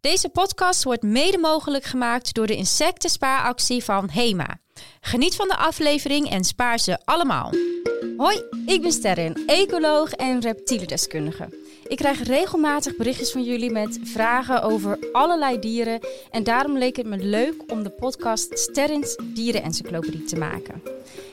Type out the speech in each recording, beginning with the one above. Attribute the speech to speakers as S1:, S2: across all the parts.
S1: Deze podcast wordt mede mogelijk gemaakt door de insectenspaaractie van HEMA. Geniet van de aflevering en spaar ze allemaal.
S2: Hoi, ik ben Sterren, ecoloog en reptielendeskundige. Ik krijg regelmatig berichtjes van jullie met vragen over allerlei dieren en daarom leek het me leuk om de podcast Sterrens Dierenencyclopedie te maken.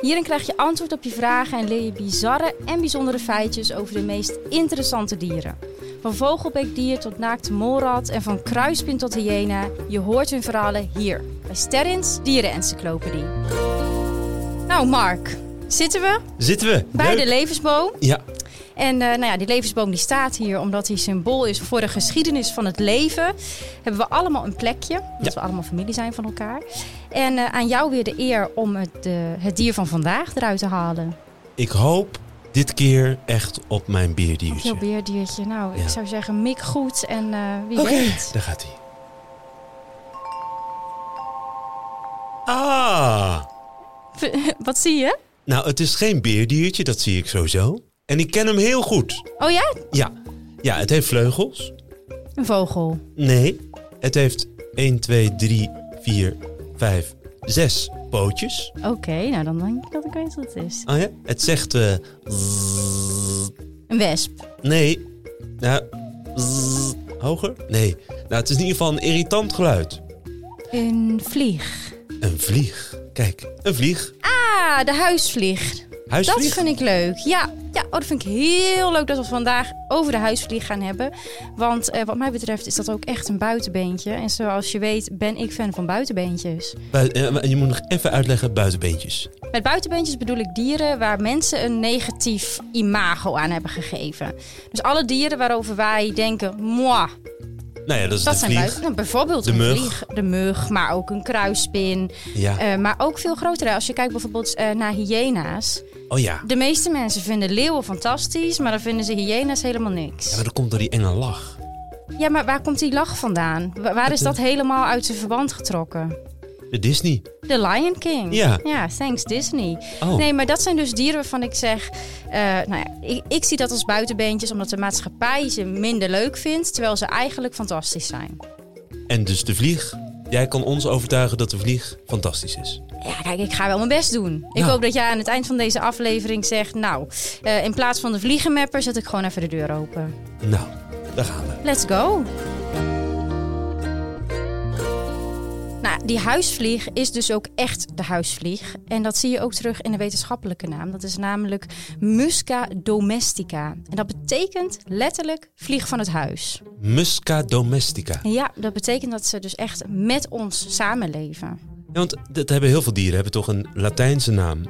S2: Hierin krijg je antwoord op je vragen en leer je bizarre en bijzondere feitjes over de meest interessante dieren. Van vogelbeekdier tot naakte molrat en van kruispin tot hyena, je hoort hun verhalen hier bij Sterrens Dierenencyclopedie. Nou Mark, zitten we?
S3: Zitten we?
S2: Bij de
S3: Leuk.
S2: levensboom.
S3: Ja,
S2: En eh, nou ja, die levensboom die staat hier omdat hij symbool is voor de geschiedenis van het leven. Hebben we allemaal een plekje, omdat
S3: Ja.
S2: we allemaal familie zijn van elkaar. En eh, aan jou weer de eer om het, eh, het dier van vandaag eruit te halen.
S3: ik hoop dit keer echt op mijn
S2: Heel
S3: bierdiertje.
S2: beerdiertje. Nou, ik
S3: Ja.
S2: zou zeggen mik goed en eh, wie
S3: Oké,
S2: weet.
S3: daar gaat hij. Ah,
S2: Wat zie je?
S3: nou het is geen beerdiertje, dat zie ik sowieso. En ik ken hem heel goed.
S2: Oh ja,
S3: Ja, ja het heeft vleugels.
S2: een vogel.
S3: Nee, het heeft 1, 2, 3, 4, 5, 6 pootjes.
S2: Oké, nou dan denk ik dat ik weet wat het is.
S3: Ah ja, het zegt... eh, zzz.
S2: Een wesp.
S3: Nee. Nou, zzz. hoger? Nee. Nou, het is in ieder geval een irritant geluid.
S2: Een vlieg.
S3: Een vlieg. Kijk, een vlieg.
S2: Ah, de huisvlieg. Dat
S3: Huisvlieg.
S2: vind ik leuk. Ja, ja oh, dat vind ik heel leuk dat we het vandaag over de huisvlieg gaan hebben. Want eh, wat mij betreft is dat ook echt een buitenbeentje. En zoals je weet ben ik fan van buitenbeentjes.
S3: Bui- eh, je moet nog even uitleggen, buitenbeentjes.
S2: Met buitenbeentjes bedoel ik dieren waar mensen een negatief imago aan hebben gegeven. Dus alle dieren waarover wij denken, moi,
S3: Nou ja, dat is
S2: dat
S3: de
S2: zijn
S3: vlieg.
S2: buiten. Nou, bijvoorbeeld
S3: De
S2: een
S3: mug.
S2: vlieg, de mug, maar ook een kruispin.
S3: Ja.
S2: Eh, maar ook veel grotere. Als je kijkt bijvoorbeeld eh, naar hyena's.
S3: oh ja.
S2: De meeste mensen vinden leeuwen fantastisch, maar dan vinden ze hyena's helemaal
S3: ja.
S2: niks.
S3: Maar dat komt door die enge lach.
S2: Ja, maar waar komt die lach vandaan? Wa- waar is
S3: Wat,
S2: dat helemaal uit zijn verband getrokken?
S3: De Disney.
S2: The Lion King.
S3: Ja.
S2: Ja, thanks Disney.
S3: Oh.
S2: Nee, maar dat zijn dus dieren waarvan ik zeg... eh, nou ja, ik, ik zie dat als buitenbeentjes omdat de maatschappij ze minder leuk vindt... terwijl ze eigenlijk fantastisch zijn.
S3: En dus de vlieg. Jij kan ons overtuigen dat de vlieg fantastisch is.
S2: Ja, kijk, ik ga wel mijn best doen. Ik
S3: Nou.
S2: hoop dat jij aan het eind van deze aflevering zegt... nou, eh, in plaats van de vliegenmapper zet ik gewoon even de deur open.
S3: Nou, daar gaan we.
S2: Let's go! Nou, die huisvlieg is dus ook echt de huisvlieg. En dat zie je ook terug in de wetenschappelijke naam. Dat is namelijk Musca domestica. En dat betekent letterlijk vlieg van het huis.
S3: Musca domestica.
S2: En ja, dat betekent dat ze dus echt met ons samenleven.
S3: Ja, want dat hebben heel veel dieren. Hebben toch een Latijnse naam?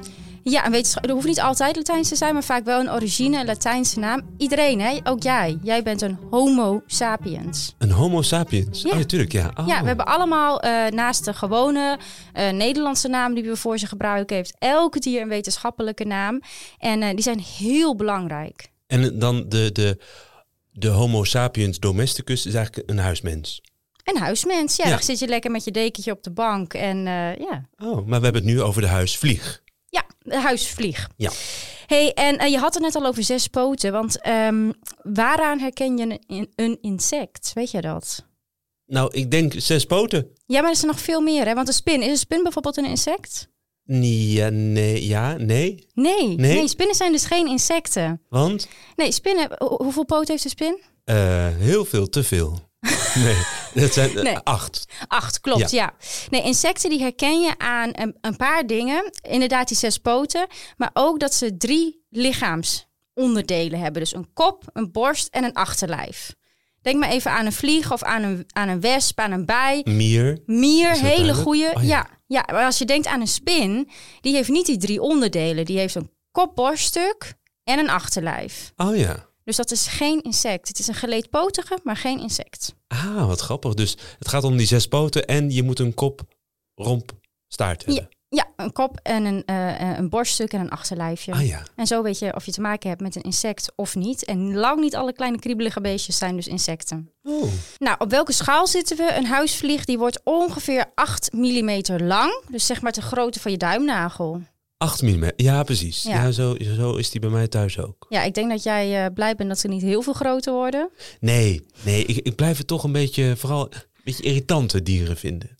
S2: Ja, en wetenschap, er hoeft niet altijd Latijns te zijn, maar vaak wel een origine, een Latijnse naam. Iedereen, hè? ook jij. Jij bent een homo sapiens.
S3: Een Homo sapiens.
S2: Ja.
S3: Oh, natuurlijk, ja. Oh.
S2: Ja, we hebben allemaal eh, naast de gewone eh, Nederlandse naam die we voor ze gebruiken, heeft elke dier een wetenschappelijke naam. En eh, die zijn heel belangrijk.
S3: En dan de, de, de Homo sapiens domesticus is eigenlijk een huismens.
S2: Een huismens, ja,
S3: Ja.
S2: dan zit je lekker met je dekentje op de bank en eh, ja.
S3: Oh, maar we hebben het nu over de huisvlieg.
S2: Ja, de huisvlieg.
S3: Ja.
S2: hey, en eh, je had het net al over zes poten, want ehm, waaraan herken je een, in- een insect? Weet je dat?
S3: Nou, ik denk zes poten.
S2: Ja, maar er zijn nog veel meer, hè? Want een spin, is een spin bijvoorbeeld een insect?
S3: Nee, ja, nee, ja, nee.
S2: Nee,
S3: Nee?
S2: nee spinnen zijn dus geen insecten.
S3: Want
S2: Nee, spinnen, ho- hoeveel poten heeft een spin?
S3: eh, heel veel te veel. nee, dat zijn eh,
S2: Nee.
S3: acht.
S2: Acht, klopt, ja. Nee, insecten die herken je aan een, een paar dingen. Inderdaad, die zes poten. Maar ook dat ze drie lichaamsonderdelen hebben. Dus een kop, een borst en een achterlijf. Denk maar even aan een vlieg of aan een, aan een wesp, aan een bij.
S3: Mier.
S2: Mier,
S3: Is dat
S2: hele
S3: duidelijk?
S2: goede.
S3: Oh, ja.
S2: ja. Ja, maar als je denkt aan een spin, die heeft niet die drie onderdelen. Die heeft een kop, borststuk en een achterlijf.
S3: Oh ja.
S2: Dus dat is geen insect. Het is een geleedpotige, maar geen insect.
S3: Ah, wat grappig. Dus het gaat om die zes poten en je moet een kop, romp, staart hebben.
S2: Ja, een kop en een, eh, eh, een borststuk en een achterlijfje.
S3: Ah ja.
S2: En zo weet je of je te maken hebt met een insect of niet. En lang niet alle kleine kriebelige beestjes zijn dus insecten.
S3: Oh.
S2: Nou, op welke schaal zitten we? Een huisvlieg die wordt ongeveer 8 mm lang. Dus zeg maar de grootte van je duimnagel.
S3: 8 mm. Ja, precies.
S2: Ja.
S3: Ja, zo, zo is die bij mij thuis ook.
S2: Ja, ik denk dat jij eh, blij bent dat ze niet heel veel groter worden.
S3: Nee, nee, ik, ik blijf het toch een beetje, vooral een beetje irritante dieren vinden.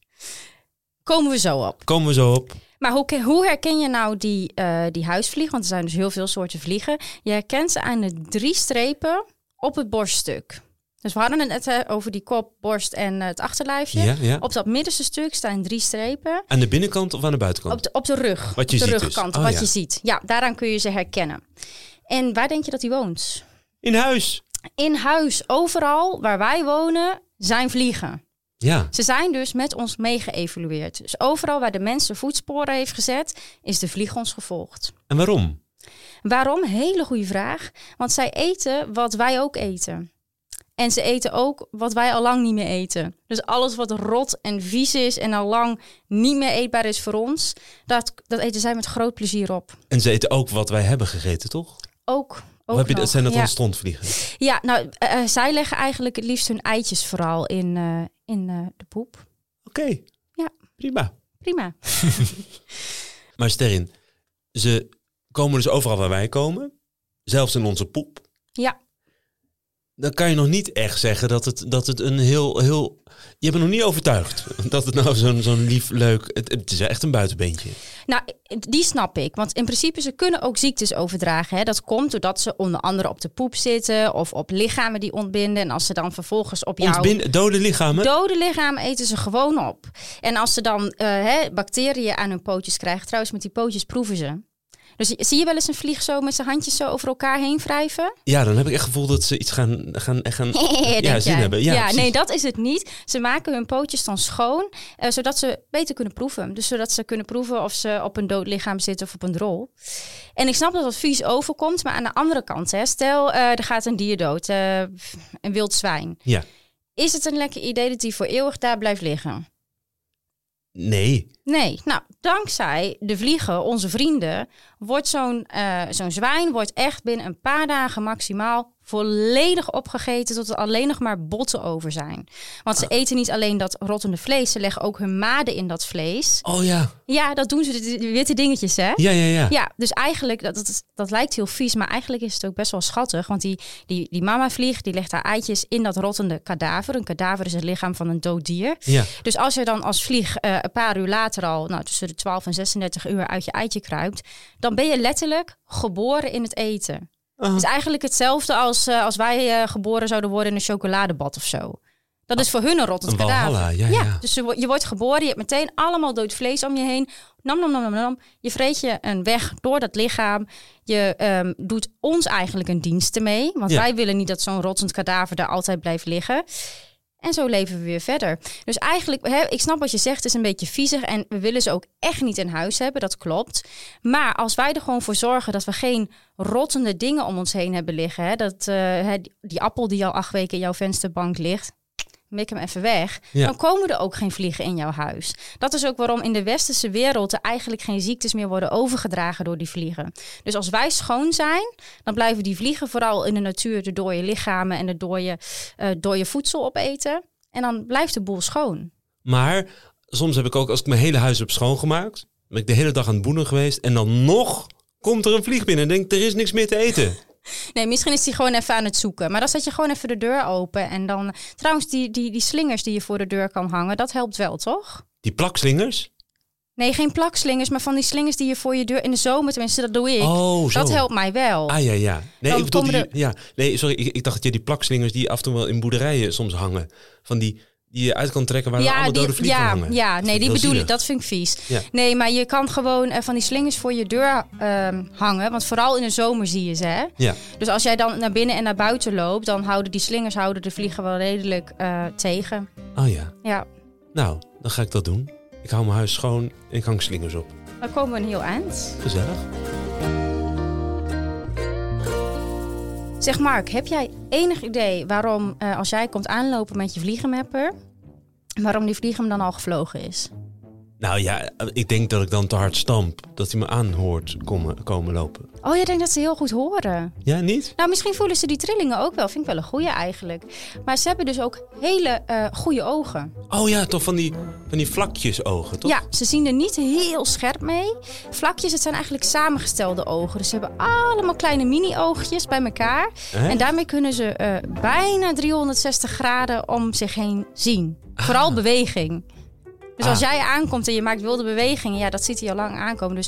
S2: Komen we zo op.
S3: Komen we zo op.
S2: Maar hoe, ke- hoe herken je nou die, eh die huisvlieg? Want er zijn dus heel veel soorten vliegen. Je herkent ze aan de drie strepen op het borststuk. Dus we hadden het net eh, over die kop, borst en eh, het achterlijfje.
S3: Ja, ja.
S2: Op dat middenste stuk staan drie strepen.
S3: Aan de binnenkant of aan de buitenkant?
S2: Op de, op de rug.
S3: Wat je
S2: op de
S3: ziet dus.
S2: rugkant,
S3: Oh,
S2: wat
S3: ja.
S2: je ziet. Ja, daaraan kun je ze herkennen. En waar denk je dat hij woont?
S3: In huis.
S2: In huis, overal waar wij wonen, zijn vliegen.
S3: Ja.
S2: Ze zijn dus met ons meegeëvalueerd. Dus overal waar de mens de voetsporen heeft gezet, is de vlieg ons gevolgd.
S3: En waarom?
S2: Waarom? Hele goede vraag. Want zij eten wat wij ook eten. En ze eten ook wat wij al lang niet meer eten. Dus alles wat rot en vies is en al lang niet meer eetbaar is voor ons, dat, dat eten zij met groot plezier op.
S3: En ze eten ook wat wij hebben gegeten, toch?
S2: Ook. ook
S3: Of heb je,
S2: nog.
S3: dat- zijn dat
S2: ja.
S3: dan stondvliegen?
S2: Ja, nou, eh, eh, zij leggen eigenlijk het liefst hun eitjes vooral in, eh, in eh, de poep.
S3: Oké.
S2: Ja.
S3: Prima.
S2: Prima.
S3: Maar Sterrin, ze komen dus overal waar wij komen. Zelfs in onze poep.
S2: Ja.
S3: Dan kan je nog niet echt zeggen dat het, dat het een heel, heel... Je bent nog niet overtuigd dat het nou zo'n zo'n lief, leuk... Het, het is echt een buitenbeentje.
S2: Nou, die snap ik. Want in principe, ze kunnen ook ziektes overdragen. Hè. Dat komt doordat ze onder andere op de poep zitten of op lichamen die ontbinden. En als ze dan vervolgens op jouw
S3: Ontbinden, dode lichamen.
S2: dode lichaam eten ze gewoon op. En als ze dan eh, hè, bacteriën aan hun pootjes krijgen, trouwens met die pootjes proeven ze. Dus zie je wel eens een vlieg zo met zijn handjes zo over elkaar heen wrijven?
S3: ja, dan heb ik echt het gevoel dat ze iets gaan... gaan, gaan
S2: Denk
S3: ja, zin
S2: jij?
S3: hebben. Ja, precies.
S2: nee, dat is het niet. Ze maken hun pootjes dan schoon, eh, zodat ze beter kunnen proeven. Dus zodat ze kunnen proeven of ze op een dood lichaam zitten of op een drol. En ik snap dat dat vies overkomt, maar aan de andere kant, hè, stel eh, er gaat een dier dood, eh, een wild zwijn.
S3: Ja.
S2: Is het een lekker idee dat die voor eeuwig daar blijft liggen?
S3: Nee.
S2: Nee, nou, dankzij de vliegen, onze vrienden, wordt zo'n eh, zo'n zwijn wordt echt binnen een paar dagen maximaal volledig opgegeten tot er alleen nog maar botten over zijn. Want ze eten niet alleen dat rottende vlees, ze leggen ook hun maden in dat vlees.
S3: Oh ja.
S2: Ja, dat doen ze, die die witte dingetjes, hè?
S3: Ja, ja, ja.
S2: Ja, dus eigenlijk, dat, dat, is- dat lijkt heel vies, maar eigenlijk is het ook best wel schattig. Want die, die, die mama vlieg, die legt haar eitjes in dat rottende kadaver. Een kadaver is het lichaam van een dood dier.
S3: Ja.
S2: Dus als je dan als vlieg eh, een paar uur later al, nou, tussen de 12 en 36 uur uit je eitje kruipt, dan ben je letterlijk geboren in het eten.
S3: Ah.
S2: Het is eigenlijk hetzelfde als, eh, als wij eh, geboren zouden worden in een chocoladebad of zo. Dat is voor hun een rottend
S3: Een
S2: kadaver.
S3: walhalla, ja, ja.
S2: dus je, wo- je wordt geboren, je hebt meteen allemaal dood vlees om je heen. Nam, nam, nam, nam, nam. Je vreet je een weg door dat lichaam. Je ehm, doet ons eigenlijk een dienst ermee. Want
S3: Ja.
S2: wij willen niet dat zo'n rottend kadaver daar altijd blijft liggen. En zo leven we weer verder. Dus eigenlijk, hè, ik snap wat je zegt, het is een beetje viezig. En we willen ze ook echt niet in huis hebben, dat klopt. Maar als wij er gewoon voor zorgen dat we geen rottende dingen om ons heen hebben liggen. Hè, dat eh, hè, die- die appel die al acht weken in jouw vensterbank ligt, mik hem even weg.
S3: Ja.
S2: Dan komen er ook geen vliegen in jouw huis. Dat is ook waarom in de westerse wereld er eigenlijk geen ziektes meer worden overgedragen door die vliegen. Dus als wij schoon zijn, dan blijven die vliegen vooral in de natuur de dode lichamen en de dode, eh dode voedsel opeten. En dan blijft de boel schoon.
S3: Maar soms heb ik ook, als ik mijn hele huis heb schoongemaakt, ben ik de hele dag aan het boenen geweest en dan nog komt er een vlieg binnen en denkt er is niks meer te eten.
S2: Nee, misschien is die gewoon even aan het zoeken. Maar dan zet je gewoon even de deur open. En dan, trouwens, die, die, die slingers die je voor de deur kan hangen, dat helpt wel, toch?
S3: Die plakslingers?
S2: Nee, geen plakslingers, maar van die slingers die je voor je deur in de zomer, tenminste, dat doe ik.
S3: Oh, zo.
S2: dat helpt mij wel.
S3: Ah ja, ja. Nee,
S2: Dan
S3: ik bedoel,
S2: komen
S3: die, ja. nee sorry, ik, ik dacht dat je die plakslingers die af en toe wel in boerderijen soms hangen. Van die die je uit kan trekken waar alle dode vliegen
S2: ja,
S3: hangen.
S2: ja,
S3: Dat
S2: nee,
S3: vind
S2: die
S3: heel
S2: bedoel
S3: zielig.
S2: ik. Dat vind ik vies.
S3: Ja.
S2: Nee, maar je kan gewoon eh, van die slingers voor je deur ehm, hangen. Want vooral in de zomer zie je ze. Hè?
S3: Ja.
S2: Dus als jij dan naar binnen en naar buiten loopt, dan houden die slingers houden de vliegen wel redelijk eh, tegen.
S3: Ah ja.
S2: Ja,
S3: Nou, dan ga ik dat doen. Ik hou mijn huis schoon en ik hang slingers op.
S2: dan komen we een heel eind.
S3: Gezellig.
S2: Zeg Mark, heb jij enig idee waarom eh, als jij komt aanlopen met je vliegenmapper, waarom die vliegem dan al gevlogen is?
S3: Nou ja, ik denk dat ik dan te hard stamp. Dat hij me aanhoort komen, komen lopen.
S2: Oh, je denkt dat ze heel goed horen.
S3: Ja, niet?
S2: Nou, misschien voelen ze die trillingen ook wel. Vind ik wel een goeie eigenlijk. Maar ze hebben dus ook hele eh goede ogen.
S3: Oh ja, toch van die, van die vlakjes ogen, toch?
S2: Ja, ze zien er niet heel scherp mee. Vlakjes, het zijn eigenlijk samengestelde ogen. Dus ze hebben allemaal kleine mini-oogjes bij elkaar.
S3: Hè?
S2: En daarmee kunnen ze eh, bijna 360 graden om zich heen zien. Vooral beweging. Dus als
S3: Ah.
S2: jij aankomt en je maakt wilde bewegingen, ja, dat ziet hij al lang aankomen. Dus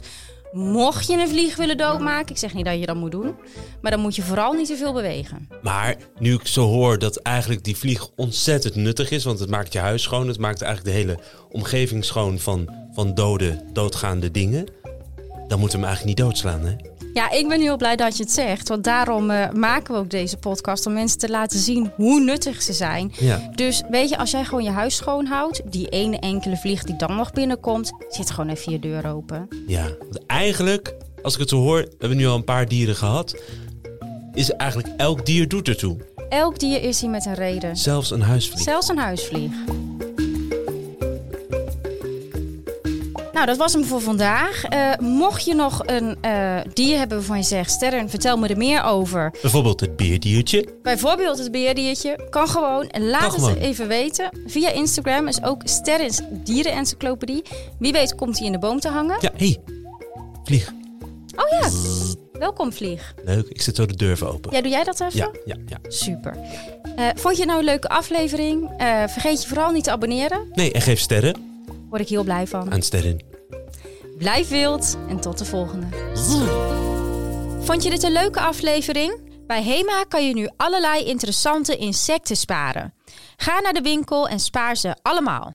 S2: mocht je een vlieg willen doodmaken, ik zeg niet dat je dat moet doen, maar dan moet je vooral niet te veel bewegen.
S3: Maar nu ik zo hoor dat eigenlijk die vlieg ontzettend nuttig is, want het maakt je huis schoon, het maakt eigenlijk de hele omgeving schoon van, van dode, doodgaande dingen, dan moeten we hem eigenlijk niet doodslaan, hè?
S2: Ja, ik ben heel blij dat je het zegt, want daarom eh, maken we ook deze podcast om mensen te laten zien hoe nuttig ze zijn.
S3: Ja.
S2: Dus weet je, als jij gewoon je huis schoonhoudt, die ene enkele vlieg die dan nog binnenkomt, zit gewoon even je deur open.
S3: Ja, want eigenlijk, als ik het zo hoor, we hebben nu al een paar dieren gehad, is eigenlijk elk dier doet ertoe.
S2: Elk dier is hier met een reden.
S3: Zelfs een huisvlieg.
S2: Zelfs een huisvlieg. Nou, dat was hem voor vandaag. Eh, mocht je nog een eh, dier hebben waarvan je zegt... Sterren, vertel me er meer over.
S3: Bijvoorbeeld het beerdiertje.
S2: Bijvoorbeeld het beerdiertje. Kan gewoon. Laat
S3: Kan
S2: het
S3: gewoon.
S2: even weten. Via Instagram is ook Sterrens Dierenencyclopedie. Wie weet komt hij in de boom te hangen.
S3: Ja, hé, hey, vlieg.
S2: Oh ja, welkom vlieg.
S3: Leuk, ik zet zo de deur even open.
S2: Ja, doe jij dat even?
S3: ja, ja. ja.
S2: Super. Eh, vond je nou een leuke aflevering? Eh, vergeet je vooral niet te abonneren.
S3: Nee, en geef sterren
S2: Word ik heel blij van.
S3: aan sterren.
S2: Blijf wild en tot de volgende. Vond je dit een leuke aflevering?
S1: Bij HEMA kan je nu allerlei interessante insecten sparen. Ga naar de winkel en spaar ze allemaal.